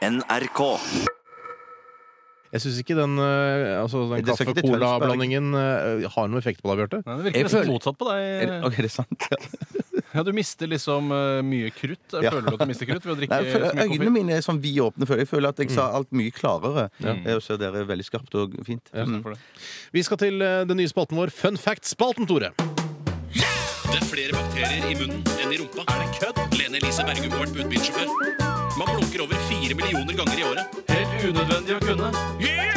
NRK. Jeg syns ikke den, eh, altså, den Det skal ikke til kaffe-cola-blandingen eh, har noen effekt på deg, Bjarte. Nei, Det Jeg virker nesten føler- motsatt på Er, deg. ok, det er sant. Ja, Du mister liksom eh, mye krutt. Jeg Ja. Føler du at du mister krutt ved å drikke Nei, jeg så føler, mye øynene koffein? mine er sånn vidåpne. føler Jeg Jeg føler at jeg sa Mm. alt mye klarere. Eh, Og så er dere veldig skarpt og fint. Jeg er sånn Mm. for det. Vi skal til eh, den nye spalten vår, Fun fact-spalten, Tore. Det er flere bakterier i munnen enn i rumpa. Er det kødd? Lene Elise Bergum har vært budbilsjåfør. Man blunker over fire millioner ganger i året. Helt unødvendig å kunne. Yeah!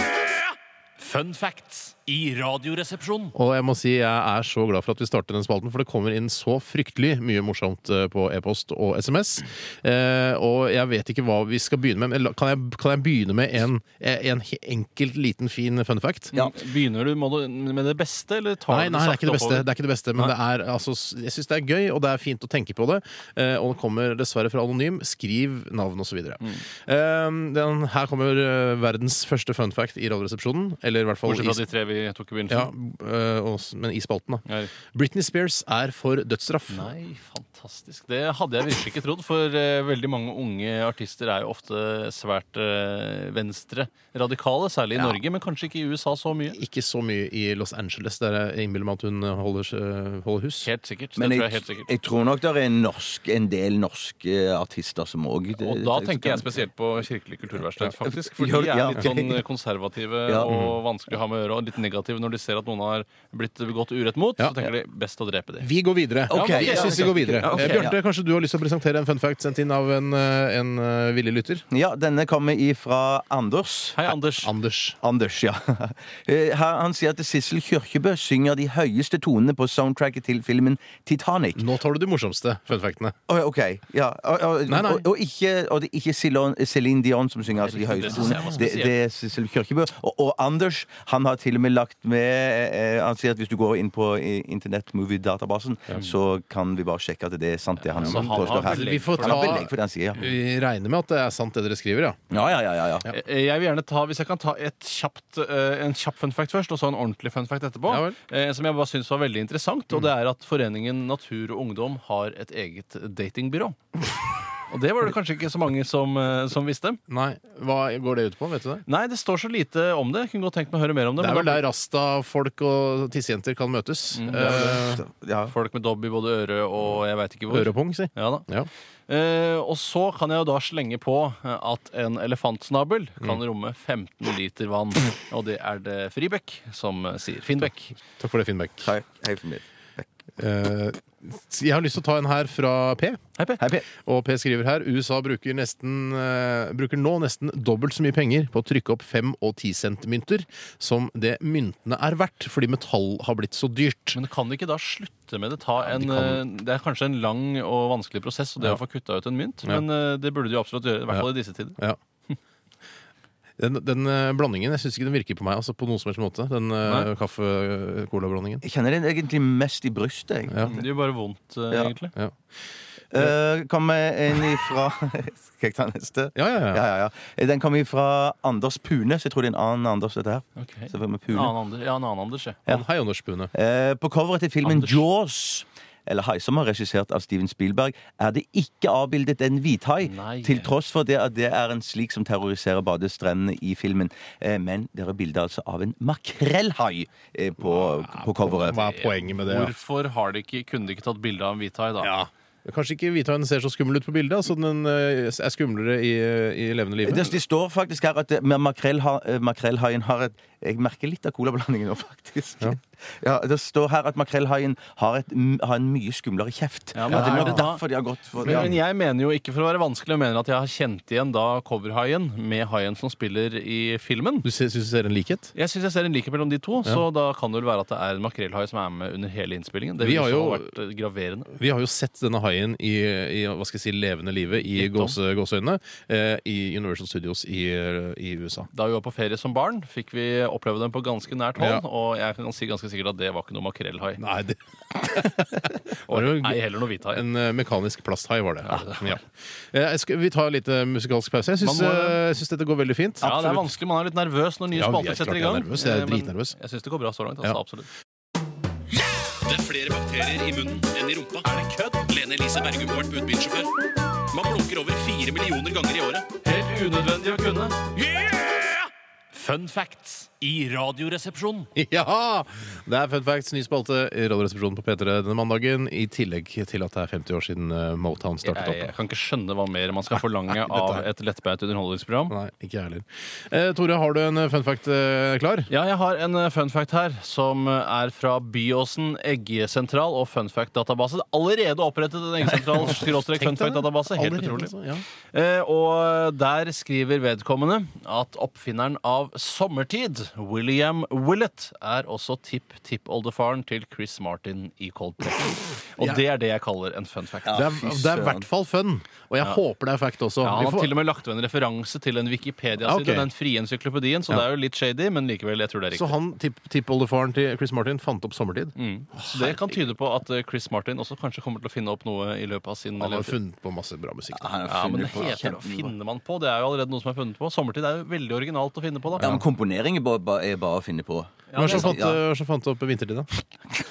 Fun facts i Radioresepsjonen. Og jeg må si jeg er så glad for at vi starter den spalten, for det kommer inn så fryktelig mye morsomt eh, på e-post og SMS. Eh, og jeg vet ikke hva vi skal begynne med. Men la- kan jeg, kan jeg begynne med en, eh, en he- enkelt, liten, fin fun fact? Begynner du må du- med det beste, eller tar Nei, du nei, det er ikke det beste. oppover? Det er ikke det beste men det er, altså, s- jeg syns det er gøy, og det er fint å tenke på det. Eh, og den kommer dessverre fra anonym. Skriv navn osv. Mm. den her kommer eh, verdens første fun fact i Radioresepsjonen. Eller i hvert fall Bortsett fra i, de tre vi tok i ja, begynnelsen. eh, og s- men i spalten, da. Ja. Britney Spears er for dødsstraff. Nei, fantastisk. Det hadde jeg virkelig ikke trodd, for eh, veldig mange unge artister er jo ofte svært eh, venstre radikale, særlig i Ja. Norge, men kanskje ikke i USA så mye. Ikke så mye i Los Angeles, der jeg innbiller meg at hun eh, holder, seg- holder hus. Helt sikkert. Men det tror jeg, jeg helt sikkert. jeg tror nok det er en, norsk, en del norske artister som eh, òg Og da tenker jeg spesielt på Kirkelig kulturverksted, faktisk. For Ja, de er ja, ok. litt sånn konservative Ja. Mm. og vanskelig å ha med å gjøre, og litt negative når de ser at noen har blitt begått urett mot. Ja. Så tenker de best å drepe dem. Vi går videre. Ok, jeg ja, synes vi ok. går videre. Ja, ok, Eh, Bjarte, ja. kanskje du har lyst til å presentere en fun fact sendt inn av en, eh, en eh, villig lytter? Ja, denne kommer ifra Anders. Hei, Anders. Anders. Anders, ja. Eh, Her, han sier at Sissel Kyrkjebø synger de høyeste tonene på soundtracket til filmen Titanic. Nå tar du de morsomste fun factene. Å, ja, OK. Ja. Og, og, Nei, nei. Og, og, ikke, og det er ikke Ceylon- Céline Dion som synger altså, de høye det synes jeg tonene. var Det, spesielt. det er Sissel Kyrkjebø. Og, og Anders han har til og med lagt med eh, Han sier at hvis du går inn på eh, Internett Movie Databasen, så kan vi bare sjekke at det er sant, det han så han har påstår her. belegg Vi får for det. Han har belegg ta for det han sier, ja. Vi regner med at det er sant, det dere skriver, ja. Ja, ja, ja, ja, ja. Eh, Jeg vil gjerne ta, Hvis jeg kan ta et kjapt, eh, en kjapp fun fact først, og så en ordentlig fun fact etterpå. Ja vel. eh, som jeg bare syns var veldig interessant, Mm. og det er at Foreningen Natur og Ungdom har et eget datingbyrå. Og det var det kanskje ikke så mange som, eh, som visste. Nei, Hva går det ut på? vet du det? Nei, det står så lite om det. Jeg kunne godt tenkt meg å høre mer om det. Det er men vel da- der rasta-folk og tissejenter kan møtes. Eh, ja. Folk med dobb i både øre og jeg veit ikke hvor. Øre og pung, si. Ja da. Ja. Eh, og så kan jeg jo da slenge på eh, at en elefantsnabel Mm. kan romme 15 liter vann. Og det er det Fribekk som eh, sier. Finnbekk. Takk for det, Finn Bech. Hei, hei for meg. Eh, jeg har lyst til å ta en her fra P. Hei, Per. Hei, Per. Og P skriver her USA bruker, nesten, eh, bruker nå nesten dobbelt så mye penger på å trykke opp 5 og 10 cent-mynter som det myntene er verdt, fordi metall har blitt så dyrt. Men kan de ikke da slutte med det? Ta en, kan- eh, det er kanskje en lang og vanskelig prosess og det Ja. å få kutta ut en mynt, men eh, det burde de jo absolutt gjøre. I hvert fall i disse tider. Ja. Den, den eh, blandingen jeg syns ikke den virker på meg altså på noen som helst måte. Den eh, Nei. kaffe-cola-blandingen. Jeg kjenner den egentlig mest i brystet. Jeg. Ja. Det gjør bare vondt, eh, Ja. egentlig. Ja. Eh, kommer en ifra Skal jeg ta neste? Ja, ja, ja. Ja, ja, ja. Den kommer ifra Anders Pune, så jeg tror det er en annen Anders. dette her Ok. Så det var med En Pune. annen Anders, ja, en annen Anders, ja. Han- Hei, Anders Bune. Eh, På coveret til filmen Anders. Jaws eller hai som er regissert av Steven Spielberg, er det ikke avbildet en hvithai. Nei. Til tross for det at det er en slik som terroriserer badestrendene i filmen. Eh, Men det er bilde altså av en makrellhai eh, på, på coveret. Hva er poenget med det? ja? Hvorfor har de ikke, kunne de ikke tatt bilde av en hvithai, da? Ja. Kanskje ikke hvithaien ser så skummel ut på bildet, altså den eh, er skumlere i, eh, i levende live. Det, det står faktisk her at det- med makrellha- eh, makrellhaien har et Jeg merker litt av colablandingen nå, faktisk. Ja. det står her at makrellhaien har, et, m- har en mye skumlere kjeft. Ja, Ja, men det er er nok det da- derfor de har gått for Men, ja. men jeg mener jo ikke for å være vanskelig, jeg mener at jeg har kjent igjen da coverhaien med haien som spiller i filmen. Du syns du ser en likhet? Jeg syns jeg ser en likhet mellom de to, så da kan det vel være at det er en makrellhai som er med under hele innspillingen. Det Vi ville har jo jo- vært eh, graverende. Vi har jo sett denne haien i, i hva skal jeg si, levende livet i Litt om. gåse, gåseøynene eh, i Universal Studios i, eh, i USA. Da vi var på ferie som barn, fikk vi oppleve dem på ganske nært Ja. hold, og jeg kan si ganske sikkert at det var ikke noe makrellhai. Nei, det Og det var- ei heller noe hvithai. En eh, mekanisk plasthai var det. Ja. Eh, jeg skal, vi tar en liten musikalsk pause. Jeg syns, Man må- eh, jeg syns dette går veldig fint. Ja, det er vanskelig. Man er litt nervøs når nye Ja, jeg- spalter klart setter i jeg er gang. nervøs. Jeg er Eh, men dritnervøs. Jeg syns det går bra så langt. Ja. Altså, absolutt. Det er flere bakterier i munnen enn i rumpa. Er det kødd? Lene Elise Bergum har vært budbilsjåfør. Man blunker over fire millioner ganger i året. Helt unødvendig å kunne. Yeah! Fun facts i Radioresepsjonen. Ja! Det er Fun Facts, ny spalte i Radioresepsjonen på P3 denne mandagen. I tillegg til at det er 50 år siden eh, Motown startet Jeg, opp. jeg kan ikke skjønne hva mer man skal forlange av et lettbeint underholdningsprogram. Nei, ikke jeg heller. Eh, Tore, har du en eh, fun fact eh, klar? Ja, jeg har en eh, fun fact her som eh, er fra Byåsen eggesentral og fun fact-database. Det er Allerede opprettet en eggesentral skråstrek fun fact-database. Helt Allerede, utrolig. altså, ja. Eh, og der skriver vedkommende at oppfinneren av sommertid, William Willett, er også tipp-tippoldefaren til Chris Martin i Coldplay. Og det er det jeg kaller en fun fact. Det Ja. er, det er i hvert fall fun, og jeg håper det er fact også. han Vi har får- til og med lagt ved en referanse til en Wikipedia-side. Ok. Den frie encyklopedien, så det er jo litt shady, men likevel, jeg tror det er Så riktig. han, tipp- tippoldefaren til Chris Martin, fant opp sommertid? Så det kan tyde på at eh, Chris Martin også kanskje kommer til å finne opp noe i løpet av sin Han har levetid. funnet på masse bra musikk. Da. Han har Ja, men det funnet på heter det å kjempebra. finne man på. Det er jo allerede noe som er funnet på. Sommertid er jo veldig originalt å finne på, da. Ja, men komponering er bare- bare- er bare å finne på. Hvem er det som fant, eh, Ja. hvem er det som fant opp vintertid,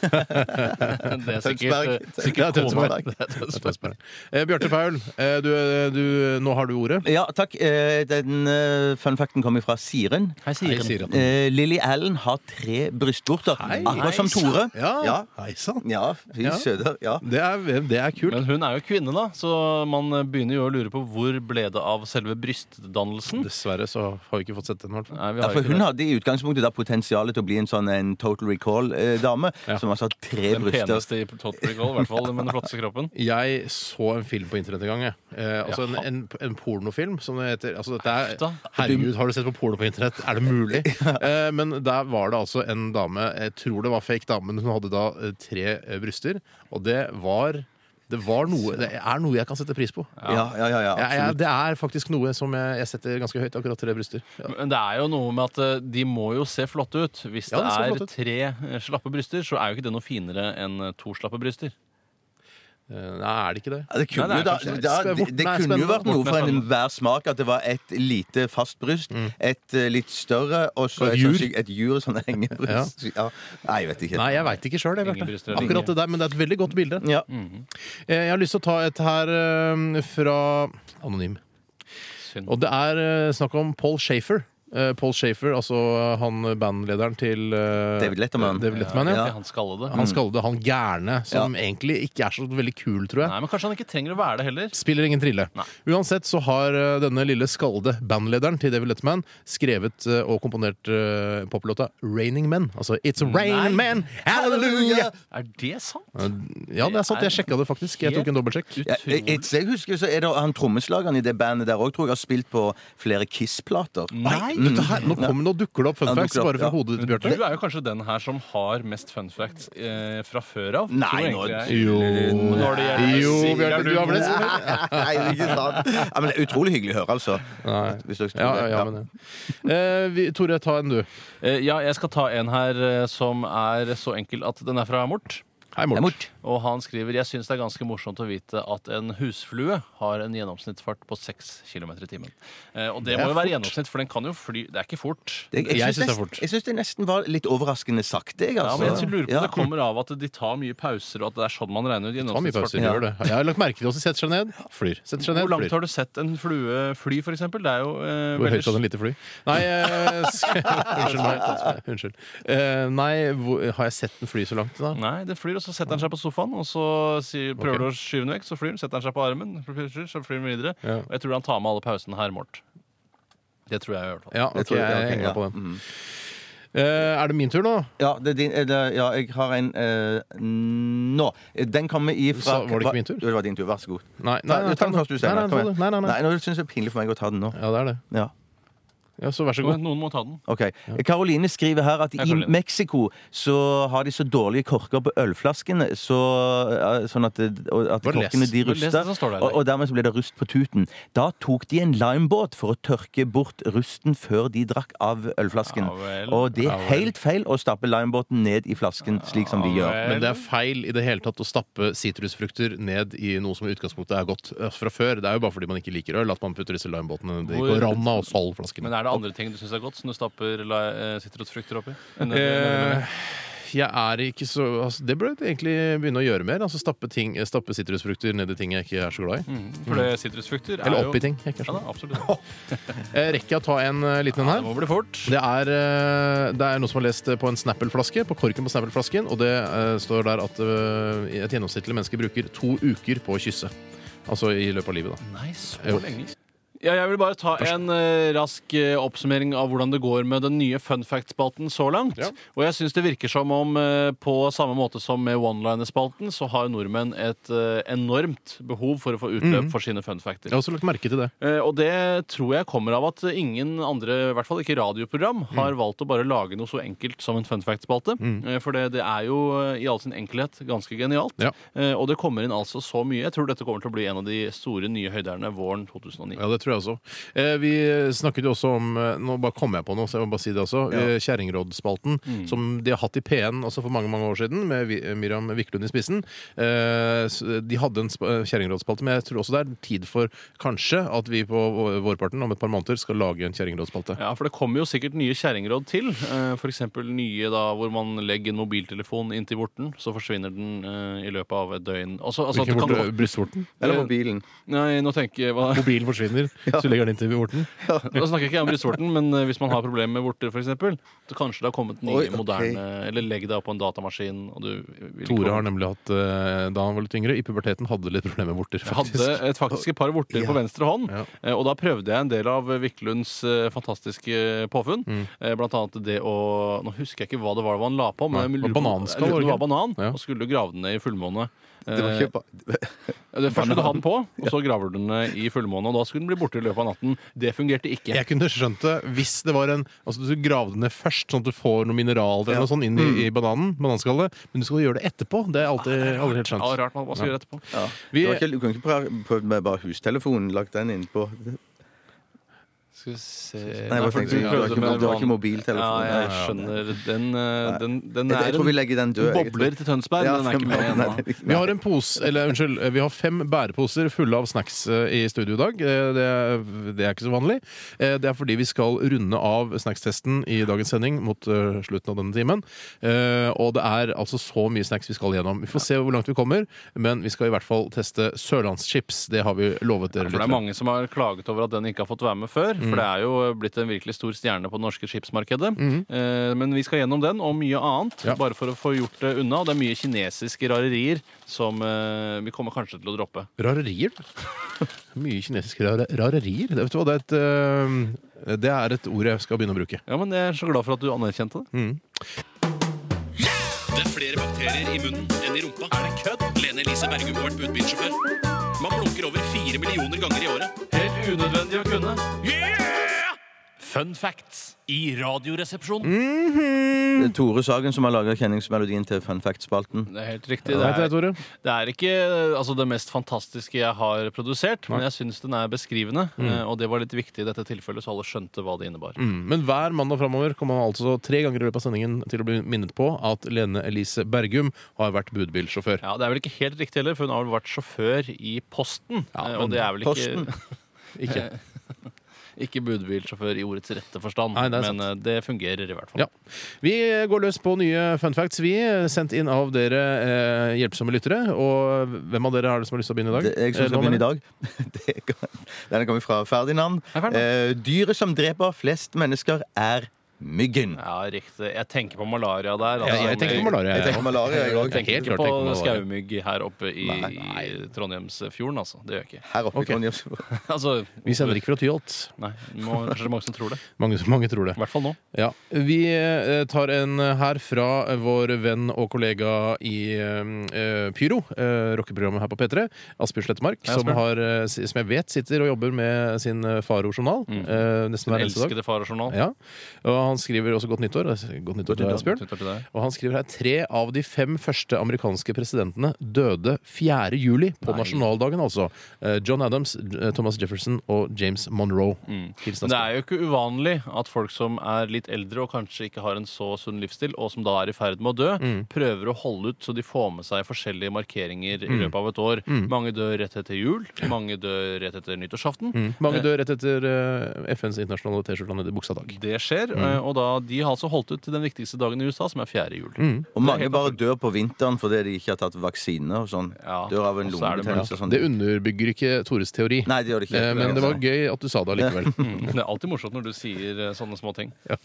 da? Det er Tønsberg. sikkert, eh, Ja, sikkert kona. Tønsberg. Tønsberg. Eh, Bjarte Paul, eh, du, du, nå har du ordet. Ja, takk. Eh, Den eh, fun facten kommer fra Siren. Hei, sier Hei, sier han. Eh, Lily Allen har tre brystvorter. Akkurat som Tore. ja. Ja, hei sann. Ja, fy Ja. søder. Ja. Det, er- det er kult. Men hun er jo kvinne, da, så man begynner jo å lure på hvor ble det av selve brystdannelsen. Dessverre så har vi ikke fått sett den. i hvert fall. Nei, vi Ja, har for jo ikke Hun det. hadde i utgangspunktet da potensialet til å bli en sånn en Total Recall-dame. Som altså har tre Den bryster. peneste i Tottenham Goal, i hvert fall med den flotteste kroppen. Jeg så en film på internett en gang. Jeg. Eh, altså en, Jaha. en, en pornofilm, som det heter. Altså, dette Uff da. er, herregud, har du sett på porno på internett? Er det mulig? Eh, men der var det altså en dame, jeg tror det var fake dame, men hun hadde da eh, tre eh, bryster. Og det var Det, var noe, det er noe jeg kan sette pris på. Ja, ja, ja, ja, Jeg, jeg, absolutt. det er faktisk noe som jeg, jeg setter ganske høyt. Akkurat tre bryster. Ja. Men det er jo noe med at eh, de må jo se flotte ut. Hvis Ja, det de ser er flotte ut. tre eh, slappe bryster, så er jo ikke det noe finere enn eh, to slappe bryster. Eh, Nei, er det ikke det? Ja, det kunne, Nei, jo det er da, kanskje- da, Skal jeg det, bort det med kunne jo spennende? vært noe Bort med for en- spennende. enhver smak at det var et lite fast bryst, et eh, litt større og så Mm. Og et et sånt jur. sykt- et jur sånn hengebryst. Ja. Nei, jeg vet ikke. Nei, jeg veit ikke sjøl, Ingen bryster eller Akkurat det ingen. der, men det er et veldig godt bilde. Ja. Mm, Eh, Jeg har lyst til å ta et her eh, fra Anonym. Synd. Og det er eh, snakk om Paul Shafer. Eh, Paul Shafer, altså eh, han bandlederen til eh, David Letterman. David Letterman ja. Ja. Ja. Mm. Han skallede. Han skallede, han gærne, som egentlig ikke er så veldig kul, tror jeg. Nei, men kanskje han ikke trenger å være det heller. Spiller ingen trille. Nei. Uansett så har eh, denne lille skallede bandlederen til David Letterman skrevet eh, og komponert eh, poplåta 'Raining Men'. Altså 'It's a Nei. raining men, hallelujah'! Er det sant? Ja, det er sant. Jeg sjekka det faktisk. Jeg tok en dobbeltsjekk. Ja, jeg, jeg, jeg husker så er det han trommeslageren i det bandet der òg, tror jeg har spilt på flere Kiss-plater. Nei, dette her, nå, kom, nå dukker det opp fun Ja, facts dukker opp, bare fra ja. hodet til Du Bjarte. er jo kanskje den her som har mest fun facts eh, fra før av. Nei, tror jeg nå- egentlig jeg. Jo, Når det gjelder- jo Bjarte, Sier du har vel det? Nei, det er ikke sant. Ja, men det er utrolig hyggelig å høre, altså. Hvis dere tror Ja, det. ja, ja, men, ja. Eh, vi, Tore, ta en, du. Eh, Ja, jeg skal ta en her eh, som er så enkel at den er fra Mort. Hei, Det Morten. er mort. Og han skriver Jeg synes det er ganske morsomt å vite at en husflue har en gjennomsnittsfart på 6 km i timen. Eh, Og det, Det er må jo være fort. gjennomsnitt, for den kan jo fly Det er ikke fort. Det, jeg Jeg syns synes det er nest- fort. Jeg syns det nesten var litt overraskende sakte, jeg, Ja, altså. men jeg lurer på om Ja. det kommer av at de tar mye pauser, og at det er sånn man regner ut Ta mye pauser. gjennomsnittsfarten. Ja. Gjør det. Jeg har lagt merke til at de setter seg ned, flyr. Setter seg ned, Hvor langt flyr. har du sett en flue fly, for eksempel? Det er jo eh, Hvor høyt veldig- hadde en lite fly? Nei, eh, sk- unnskyld meg. Unnskyld. Eh, nei, hvor, har jeg sett den fly så langt, da? Nei, det flyr, og så setter han seg på sofaen, og så sier, prøver du å skyve den vekk, så flyr den, setter han seg på armen, plutselig så flyr den videre. Ja. Og jeg tror han tar med alle pausene her, Mort. Det tror jeg i hvert fall. Ja, Jeg ok, tror- jeg ja, ok, henger meg ja. Mm. på den. Eh, er det min tur nå? Ja, det er din, er det, ja, jeg har en eh, nå. Den kommer ifra Sa- var det ikke min tur? Jo, det var din tur. Vær så god. Nei, Ta, nei, nei, ta den først, du, Nei, Steinar. Kom nei, igjen. nei, nei, nei. Nei, nå syns jeg det er pinlig for meg å ta den nå. Ja, det er det. Ja. Ja, så vær så god. Noen må ta den. Ok, Karoline skriver her at Ja, i Caroline. Mexico så har de så dårlige korker på ølflaskene så, eh, sånn at, det- og at Bare les. korkene de Bare les det ruster. som står der. Og, og dermed så ble det rust på tuten. Da tok de en limebåt for å tørke bort rusten før de drakk av ølflasken. Ja vel. og det er Ja vel. helt feil å stappe limebåten ned i flasken slik som de Ja gjør. vel. Men det er feil i det hele tatt å stappe sitrusfrukter ned i noe som i utgangspunktet er godt eh, fra før. Det er jo bare fordi man ikke liker øl at man putter disse limebåtene i Hvor- korona og salgflaskene. Men er det andre ting du syns er godt, som du stapper la- eh, sitrusfrukter oppi? Enn- Eh, jeg er ikke så altså, Det burde jeg egentlig begynne å gjøre mer. Altså Stappe, ting, stappe sitrusfrukter ned i ting jeg ikke er så glad i. For det sitrusfrukter er Eller jo opp i ting. Jeg ikke er Ja, så da, glad. absolutt. i. Eh, Rekker jeg å ta en eh, liten en Det her? må bli fort. Det er, eh, det er noen som har lest på en Snapple-flaske, på korken på Snapple-flasken, og det eh, står der at eh, et gjennomsnittlig menneske bruker to uker på å kysse. Altså i løpet av livet, da. Nei, så Jo. lenge. Ja, jeg vil bare ta en eh, rask eh, oppsummering av hvordan det går med den nye fun fact-spalten så langt. Ja. Og jeg syns det virker som om eh, på samme måte som med one-liner-spalten, så har nordmenn et eh, enormt behov for å få utløp Mhm. for sine fun facter. Jeg har også lagt merke til det. Eh, Og det tror jeg kommer av at ingen andre, i hvert fall ikke radioprogram, Mhm. har valgt å bare lage noe så enkelt som en fun fact-spalte. Eh, For det, det er jo eh, i all sin enkelhet ganske genialt. Ja. Eh, Og det kommer inn altså så mye. Jeg tror dette kommer til å bli en av de store nye høyderne våren 2009. Ja, det tror jeg også. Eh, vi snakket jo også om eh, Nå bare kom jeg på noe, så jeg må bare si det også. eh, Kjerringrådspalten, Mm. som de har hatt i P1 også for mange mange år siden, med Vi- eh, Miriam Wiklund i spissen. Eh, s- de hadde en sp- eh, kjerringrådspalte, men jeg tror også det er tid for kanskje at vi på vå- vårparten om et par måneder skal lage en kjerringrådspalte. Ja, sånn for det kommer jo sikkert nye kjerringråd til. Eh, For eksempel nye da hvor man legger en mobiltelefon inntil vorten, så forsvinner den eh, i løpet av et døgn. Også, altså, at Hvilken du kan vorte- brystvorten? Eller mobilen. Nei, nå tenker jeg hva Mobilen forsvinner, så legger den inn til vorten. Nå snakker ikke jeg om brystvorten, men eh, hvis man har problemer med vorter, f.eks., så kanskje det har kommet nye, Oi, ok. moderne Eller legg deg opp på en datamaskin, og du vil Tore har nemlig hatt, eh, da han var litt yngre, i puberteten hadde litt problemer med vorter, jeg hadde faktisk. et faktisk et par vorter på venstre hånd, Ja. eh, og da prøvde jeg en del av Viklunds eh, fantastiske påfunn. Eh, Blant annet det å Nå husker jeg ikke hva det var det var han la på, men Nei, jeg lurer det var på- bananskall, jeg var lurer på det det var banan, Ja. og skulle grave den ned i fullmåne. Det var Eh, ikke ba- det første du har den på, og så graver du den ned i fullmåne, og da skulle den bli borte i løpet av natten. Det fungerte ikke. Jeg kunne skjønt det hvis det var en Altså du gravde ned først, sånn at du får noen mineraler eller noe sånt inn Mm. i, i bananen, bananskallet, men du skal gjøre det etterpå. Det er alltid, aldri helt Ja, skjønt. rart man, man skal gjøre etterpå. ja. Vi- Det var ikke, du kunne ikke prøve- prøvd med bare hustelefonen, lagt den innpå Skal vi se Nei, jeg bare for tenkte, du det var prøvde ikke- med det var ikke vann. mobiltelefon. Ja, jeg skjønner. Den, eh, den, den Jeg, jeg er tror vi en legger den død. jeg tror. bobler til Tønsberg, Ja, men den er ikke med nei, ennå. den er ikke Vi med. har en pose, eller unnskyld, vi har fem bæreposer fulle av snacks eh, i studio i dag. Eh, Det er, det er ikke så vanlig. Eh, Det er fordi vi skal runde av snackstesten i dagens sending mot eh, slutten av denne timen. Eh, Og det er altså så mye snacks vi skal gjennom. Vi får se hvor langt vi kommer, men vi skal i hvert fall teste sørlandschips. Det har vi lovet dere. For det er lyttere. mange som har klaget over at den ikke har fått være med før. For det er jo blitt en virkelig stor stjerne på det norske skipsmarkedet. Eh, Men vi skal gjennom den, og mye annet, Ja. bare for å få gjort det unna. Og det er mye kinesiske rarerier som eh, vi kommer kanskje til å droppe. Rarerier? Mye kinesiske rar rarerier. Det, vet du hva, det, er et, eh, det er et ord jeg skal begynne å bruke. Ja, men jeg er så glad for at du anerkjente det. Det er flere bakterier i munnen enn i rumpa. Er det kødd? Lene Elise Bergum har vært budbilsjåfør. Man blunker over fire millioner ganger i året. Helt unødvendig å kunne. Yeah! Fun facts i Radioresepsjonen. Det er Tore Sagen som har laga kjenningsmelodien til Fun Fact-spalten. Det er helt riktig. Hva heter det, Tore? Det er ikke eh, altså, det mest fantastiske jeg har produsert, men jeg syns den er beskrivende. eh, Og det var litt viktig i dette tilfellet, så alle skjønte hva det innebar. Mm. Men hver mandag framover kommer man altså tre ganger i løpet av sendingen til å bli minnet på at Lene Elise Bergum har vært budbilsjåfør. Ja, Det er vel ikke helt riktig heller, for hun har vel vært sjåfør i Posten. Ja, eh, men og det er vel Posten? ikke, Ikke. ikke budbilsjåfør i ordets rette forstand, Nei, det er sant. men eh, det fungerer i hvert fall. Ja. Vi går løs på nye fun facts, vi. er Sendt inn av dere eh, hjelpsomme lyttere. Og hvem av dere har det som har lyst til å begynne i dag? Det er jeg Eh, som skal nå, begynne i mener jeg. dag. Det kan- Denne kommer fra Ferdinand. Hei, Ferdinand. Eh, dyret som dreper flest mennesker, er myggen. Ja, riktig. Jeg tenker på malaria der. altså, Ja, jeg tenker på malaria. Jeg jeg tenker også. malaria, jeg Jeg òg. tenker helt Ikke klart tenker på på malaria. skaumygg her oppe i, i Trondheimsfjorden, altså. Det gjør jeg ikke. Her oppe Ok. i Trondheimsfjorden. Altså, Vi sender ikke fra Tyholt. Nei, må, kanskje det er mange som tror det. Mange, mange tror det. I hvert fall nå. Ja, Vi eh, tar en her fra eh, vår venn og kollega i eh, Pyro, eh, rockeprogrammet her på P3, Asbjørn Slettemark, Hei, som, Asbjørn. har, eh, si- som jeg vet sitter og jobber med sin eh, Faro-journal eh, nesten hver eneste dag. Mm. Elskede farjournal. Ja. Og han skriver også Godt nyttår. Altså, Godt nyttår til deg, Asbjørn. Knytter til deg. Og han skriver her tre av de fem første amerikanske presidentene døde 4. juli på nasjonaldagen, altså. Eh, John Adams, eh, Thomas Jefferson og James Monroe. Hilsen Mm. Men det Asbjørn. er jo ikke uvanlig at folk som er litt eldre og kanskje ikke har en så sunn livsstil, og som da er i ferd med å dø, Mm. prøver å holde ut så de får med seg forskjellige markeringer Mm. i løpet av et år. Mange dør rett etter jul, mange dør Mm. rett etter nyttårsaften. Mange dør rett etter eh, FNs internasjonale T-skjorta nede i buksa dag. Det skjer, eh, og da, de har altså holdt ut til den viktigste dagen i USA, som er fjerde jul. Mm. Og mange bare dør på vinteren fordi de ikke har tatt vaksine og sånn. Ja, Dør av en og så er det lungebetennelse og sånn. Det underbygger ikke Tores teori. Nei, det gjør det ikke. altså. Eh, Men det var gøy at du sa det allikevel. Mm. Det er alltid morsomt når du sier eh, sånne små ting. Eh,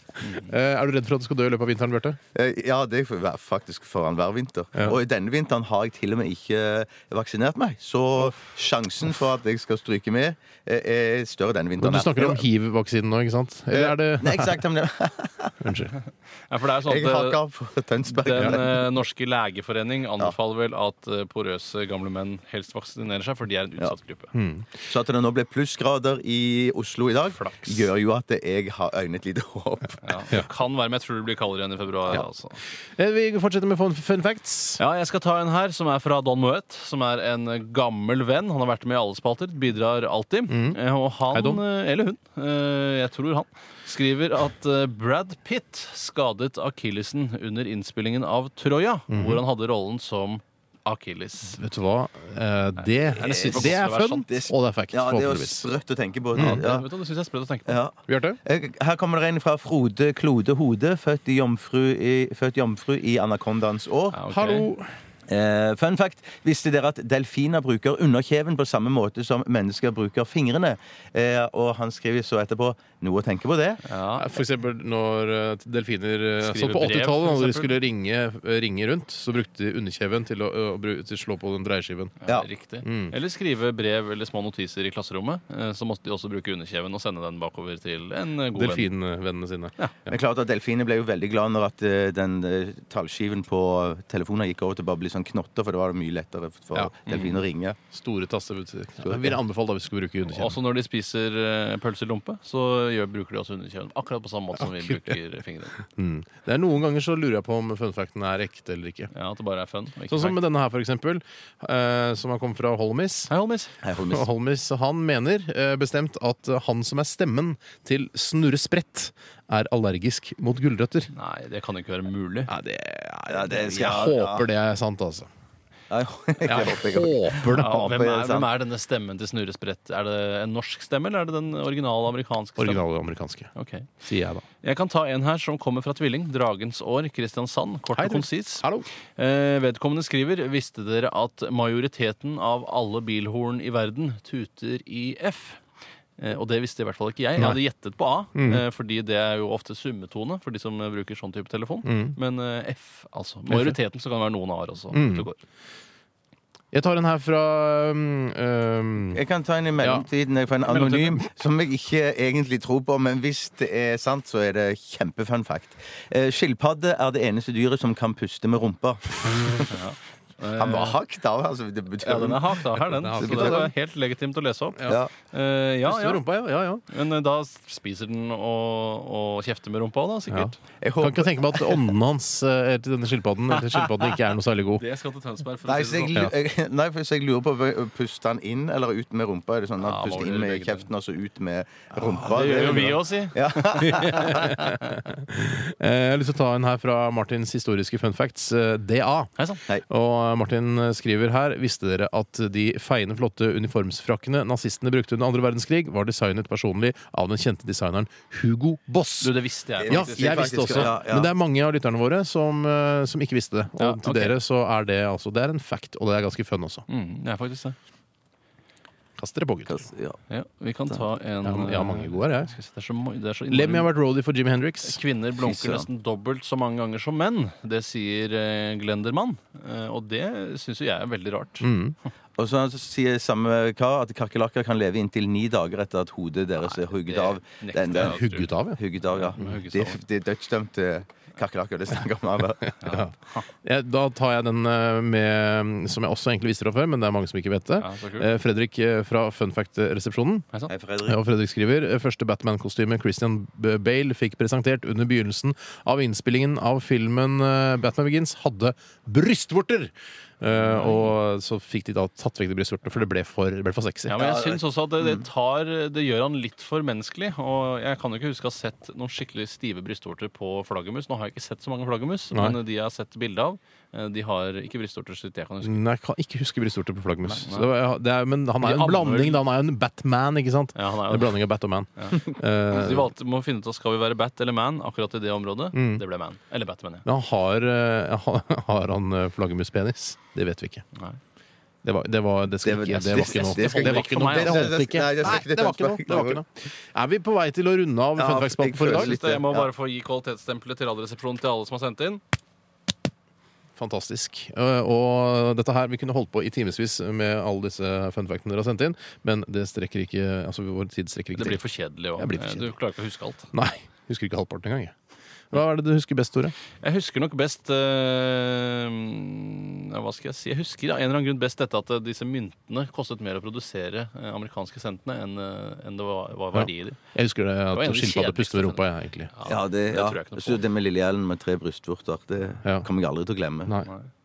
Er du redd for at du skal dø i løpet av vinteren, Bjarte? Eh, Ja, det er for- hver- faktisk foran hver vinter. Og i denne vinteren har jeg til og med ikke eh, vaksinert meg. Så sjansen for at jeg skal stryke med, eh, er større denne Men vinteren. du her. snakker om hiv-vaksinen nå, ikke sant? Eller er det Nei, exakt, men jeg, Unnskyld. Ja, for det er jeg sånn har at ikke eh, av på Tønsberg. den eh, norske legeforening anbefaler vel at eh, porøse gamle menn helst vaksinerer seg, for de er en utsatt gruppe. Så at det nå ble plussgrader i Oslo i dag, Flaks. gjør jo at jeg har øynet lite håp. Ja, det kan være, men jeg tror det blir kaldere enn i februar. Ja. Altså. Eh, Vi fortsetter med fun- fun facts. Ja, jeg skal ta en her som er fra Don Moet, som er en eh, gammel venn. Han har vært med i alle spalter, bidrar alltid. Eh, Og han, Hei, Don. eh, eller hun, eh, jeg tror han, skriver at eh, Brad Pitt skadet akillesen under innspillingen av Troja, hvor han hadde rollen som akilles. Vet du hva? Eh, Det, nesten for det er godt til å være fun, og sant. det er fact. Ja, det er jo Forhåpentligvis. Mm. sprøtt å tenke på. Ja. Ja. Vet du, hva, det syns jeg er sprøtt å tenke på. Ja. Bjarte? Jeg- Her kommer det en fra Frode Klode Hode, født jomfru i, født jomfru i anakondaens år. Ja, ok. Hallo! Eh, fun fact, visste dere at delfiner bruker underkjeven på samme måte som mennesker bruker fingrene? Eh, og han skriver så etterpå noe å tenke på det. Ja. For eksempel når eh, delfiner eh, Skriver Så på brev, 80-tallet, for når de eksempel. skulle ringe, eh, ringe rundt, så brukte de underkjeven til å, å, bru- til å slå på den dreieskiven. Ja. Mm. Riktig. Eller skrive brev eller små notiser i klasserommet. eh, Så måtte de også bruke underkjeven og sende den bakover til en eh, god venn. Delfinvennene sine. Men klart at Delfiner ble jo veldig glad når at eh, den eh, tallskiven på telefonen gikk over til bare å bli sånn knotter, for det var mye lettere for Ja. delfiner å ringe. Store tasser. vet du. Jeg vil anbefale da vi skulle bruke underkjeven. Også når de spiser eh, pølselompe, så gjør, bruker de også underkjeven. Akkurat på samme måte som vi bruker fingrene. Mm. Det er Noen ganger så lurer jeg på om funfacten er ekte eller ikke. Ja, At det bare er fun. og ikke Sånn som fact. med denne her, for eksempel, eh, som har kommet fra Holmis. Hei, Holmis. Hei, Holmes. Og Holmis han mener eh, bestemt at eh, han som er stemmen til Snurre Sprett, er allergisk mot gulrøtter. Nei, det kan ikke være mulig. Nei, det, Ja, det jeg skal- håper det er sant, altså. Nei, jeg Jeg håper ikke. håper det. Ja, hvem, det er er, sant. hvem er denne stemmen til Snurre Sprett? Er det en norsk stemme, eller er det den originale amerikanske stemmen? Originale amerikanske, Ok. sier jeg da. Jeg kan ta en her som kommer fra tvilling. Dragens år, Kristiansand. Kort og konsis. Hallo. Eh, vedkommende skriver Visste dere at majoriteten av alle bilhorn i verden tuter i F? Eh, og det visste i hvert fall ikke jeg. Jeg hadde gjettet på A, Mm. eh, fordi det er jo ofte summetone for de som eh, bruker sånn type telefon. Mm. Men eh, F, altså. Majoriteten, så kan det være noen A-er også. Det går. Jeg tar en her fra um, um, Jeg kan ta en i mellomtiden jeg, fra en anonym som jeg ikke egentlig tror på, men hvis det er sant, så er det kjempefun fact. Eh, Skilpadde er det eneste dyret som kan puste med rumpa. Han var hakt av, altså. Det betyr Eh. Ja, den er hakt av her, den. Den er Så hakt det er helt legitimt å lese opp. Ja. Eh, ja, Puster ja. med rumpa, ja, ja, ja. Men eh, da spiser den og, og kjefter med rumpa, da, sikkert. Jeg Kan ikke håper... tenke meg at ånden hans eh, til denne skilpadden eller til skilpadden ikke er noe særlig god. Det skal til Tønsberg. for Nei, å si så jeg, det sånn. lu- jeg- nei, for så jeg lurer på hva- Puster han inn eller ut med rumpa? Er det sånn at Ja, han puster må inn gjøre med begge kjeften og så ut med rumpa? Det gjør jo er vi bra. òg, si. Eh, Jeg har lyst til å ta en her fra Martins historiske fun facts, eh, DA. Hei sann. Og eh, Martin skriver her Visste dere at de feiende flotte uniformsfrakkene nazistene brukte under andre verdenskrig, var designet personlig av den kjente designeren Hugo Boss? Du, det visste jeg. Ja, faktisk, jeg visste faktisk, også. ja, ja. Men det er mange av lytterne våre som, eh, som ikke visste det. Og Ja, til ok. dere så er det altså Det er en fact, og det er ganske fun også. Mm, det er faktisk det. Kast dere på, gutter. Ja. Ja, vi kan ta en Ja, men- ja, mange gode her, jeg. Skal vi se, Det er så, ma- det er så Lemmy har vært roadie for Jimmy Hendrix. Kvinner blunker søren. nesten dobbelt så mange ganger som menn. Det sier eh, Glendermann. Eh, og det syns jo jeg er veldig rart. Mm. Og så sier samme kar at kakerlakker kan leve inntil ni dager etter at hodet deres er hugget det av. nekter Den, jeg. Hugget av, ja. Hugget av, ja. hugges Det, av. det er dødsdømte kakerlakker det snakker om her. da. Ja, Da tar jeg den eh, med som jeg også egentlig visste fra før, men det er mange som ikke vet det. Ja, så kult. Eh, Fredrik eh, fra Fun Fact-resepsjonen. Hei sann. Hei, Fredrik. Og Fredrik skriver eh, Første Batman-kostyme Christian B- Bale fikk presentert under begynnelsen av innspillingen av filmen eh, Batman Begins, hadde brystvorter! Eh, og så fikk de da tatt vekk de brystvortene, for det ble for, det Mm. ble for sexy. Ja, men jeg synes også at det, det, tar, det gjør han litt for menneskelig. Og jeg kan jo ikke huske å ha sett noen skikkelig stive brystvorter på flaggermus. Nå har jeg ikke sett så mange flaggermus, Nei. men de jeg har sett bilde av, eh, de har ikke brystvorter, så vidt jeg kan huske. Nei, jeg kan ikke huske brystvorter på flaggermus. Nei, nei. Så det var- det er- Men han er jo De en blanding, anmelder- da. Han er jo en Batman, ikke sant? Ja, han er jo En det. blanding av Bat og Man. Eh, Så de valgte må finne ut av skal vi være Bat eller Man akkurat i det området. Mm. Det ble Man. Eller Bat, mener jeg. men han har, eh, har, har han eh, flaggermuspenis? Det vet vi ikke. Nei. Det var, det var, det skal Det- ikke, det var ikke noe. det skal ikke- Det var ikke noe. det- Det holdt ikke. altså. Nei, det skal Nei, ikke- det var ikke noe. Det var ikke noe. Er vi på vei til å runde av Ja, Fun Facts-spalten jeg for i føler dag? litt- Så jeg må Ja. bare få gi kvalitetsstempelet til Radioresepsjonen til alle som har sendt inn. Fantastisk. Eh, Og dette her, Vi kunne holdt på i timevis med alle disse fun factene dere har sendt inn, men det strekker ikke, altså vår tid strekker Det ikke blir til. for kjedelig. Og, Jeg blir for Du klarer ikke å huske alt. Nei, Husker ikke halvparten engang. jeg. Hva er det du husker best, Tore? Jeg husker nok best eh, ja, Hva skal jeg si? Jeg husker av en eller annen grunn best dette at eh, disse myntene kostet mer å produsere eh, amerikanske sentene enn eh, enn det var, var Ja. verdi i dem. Jeg husker det var en at av de skilpadde puster med kjedeligste rumpa. Jeg, egentlig. Ja, det, det ja. tror jeg ikke noe Så på. det med Lille Hjelm med tre brystvorter, det Ja. kommer jeg aldri til å glemme. Nei. Nei.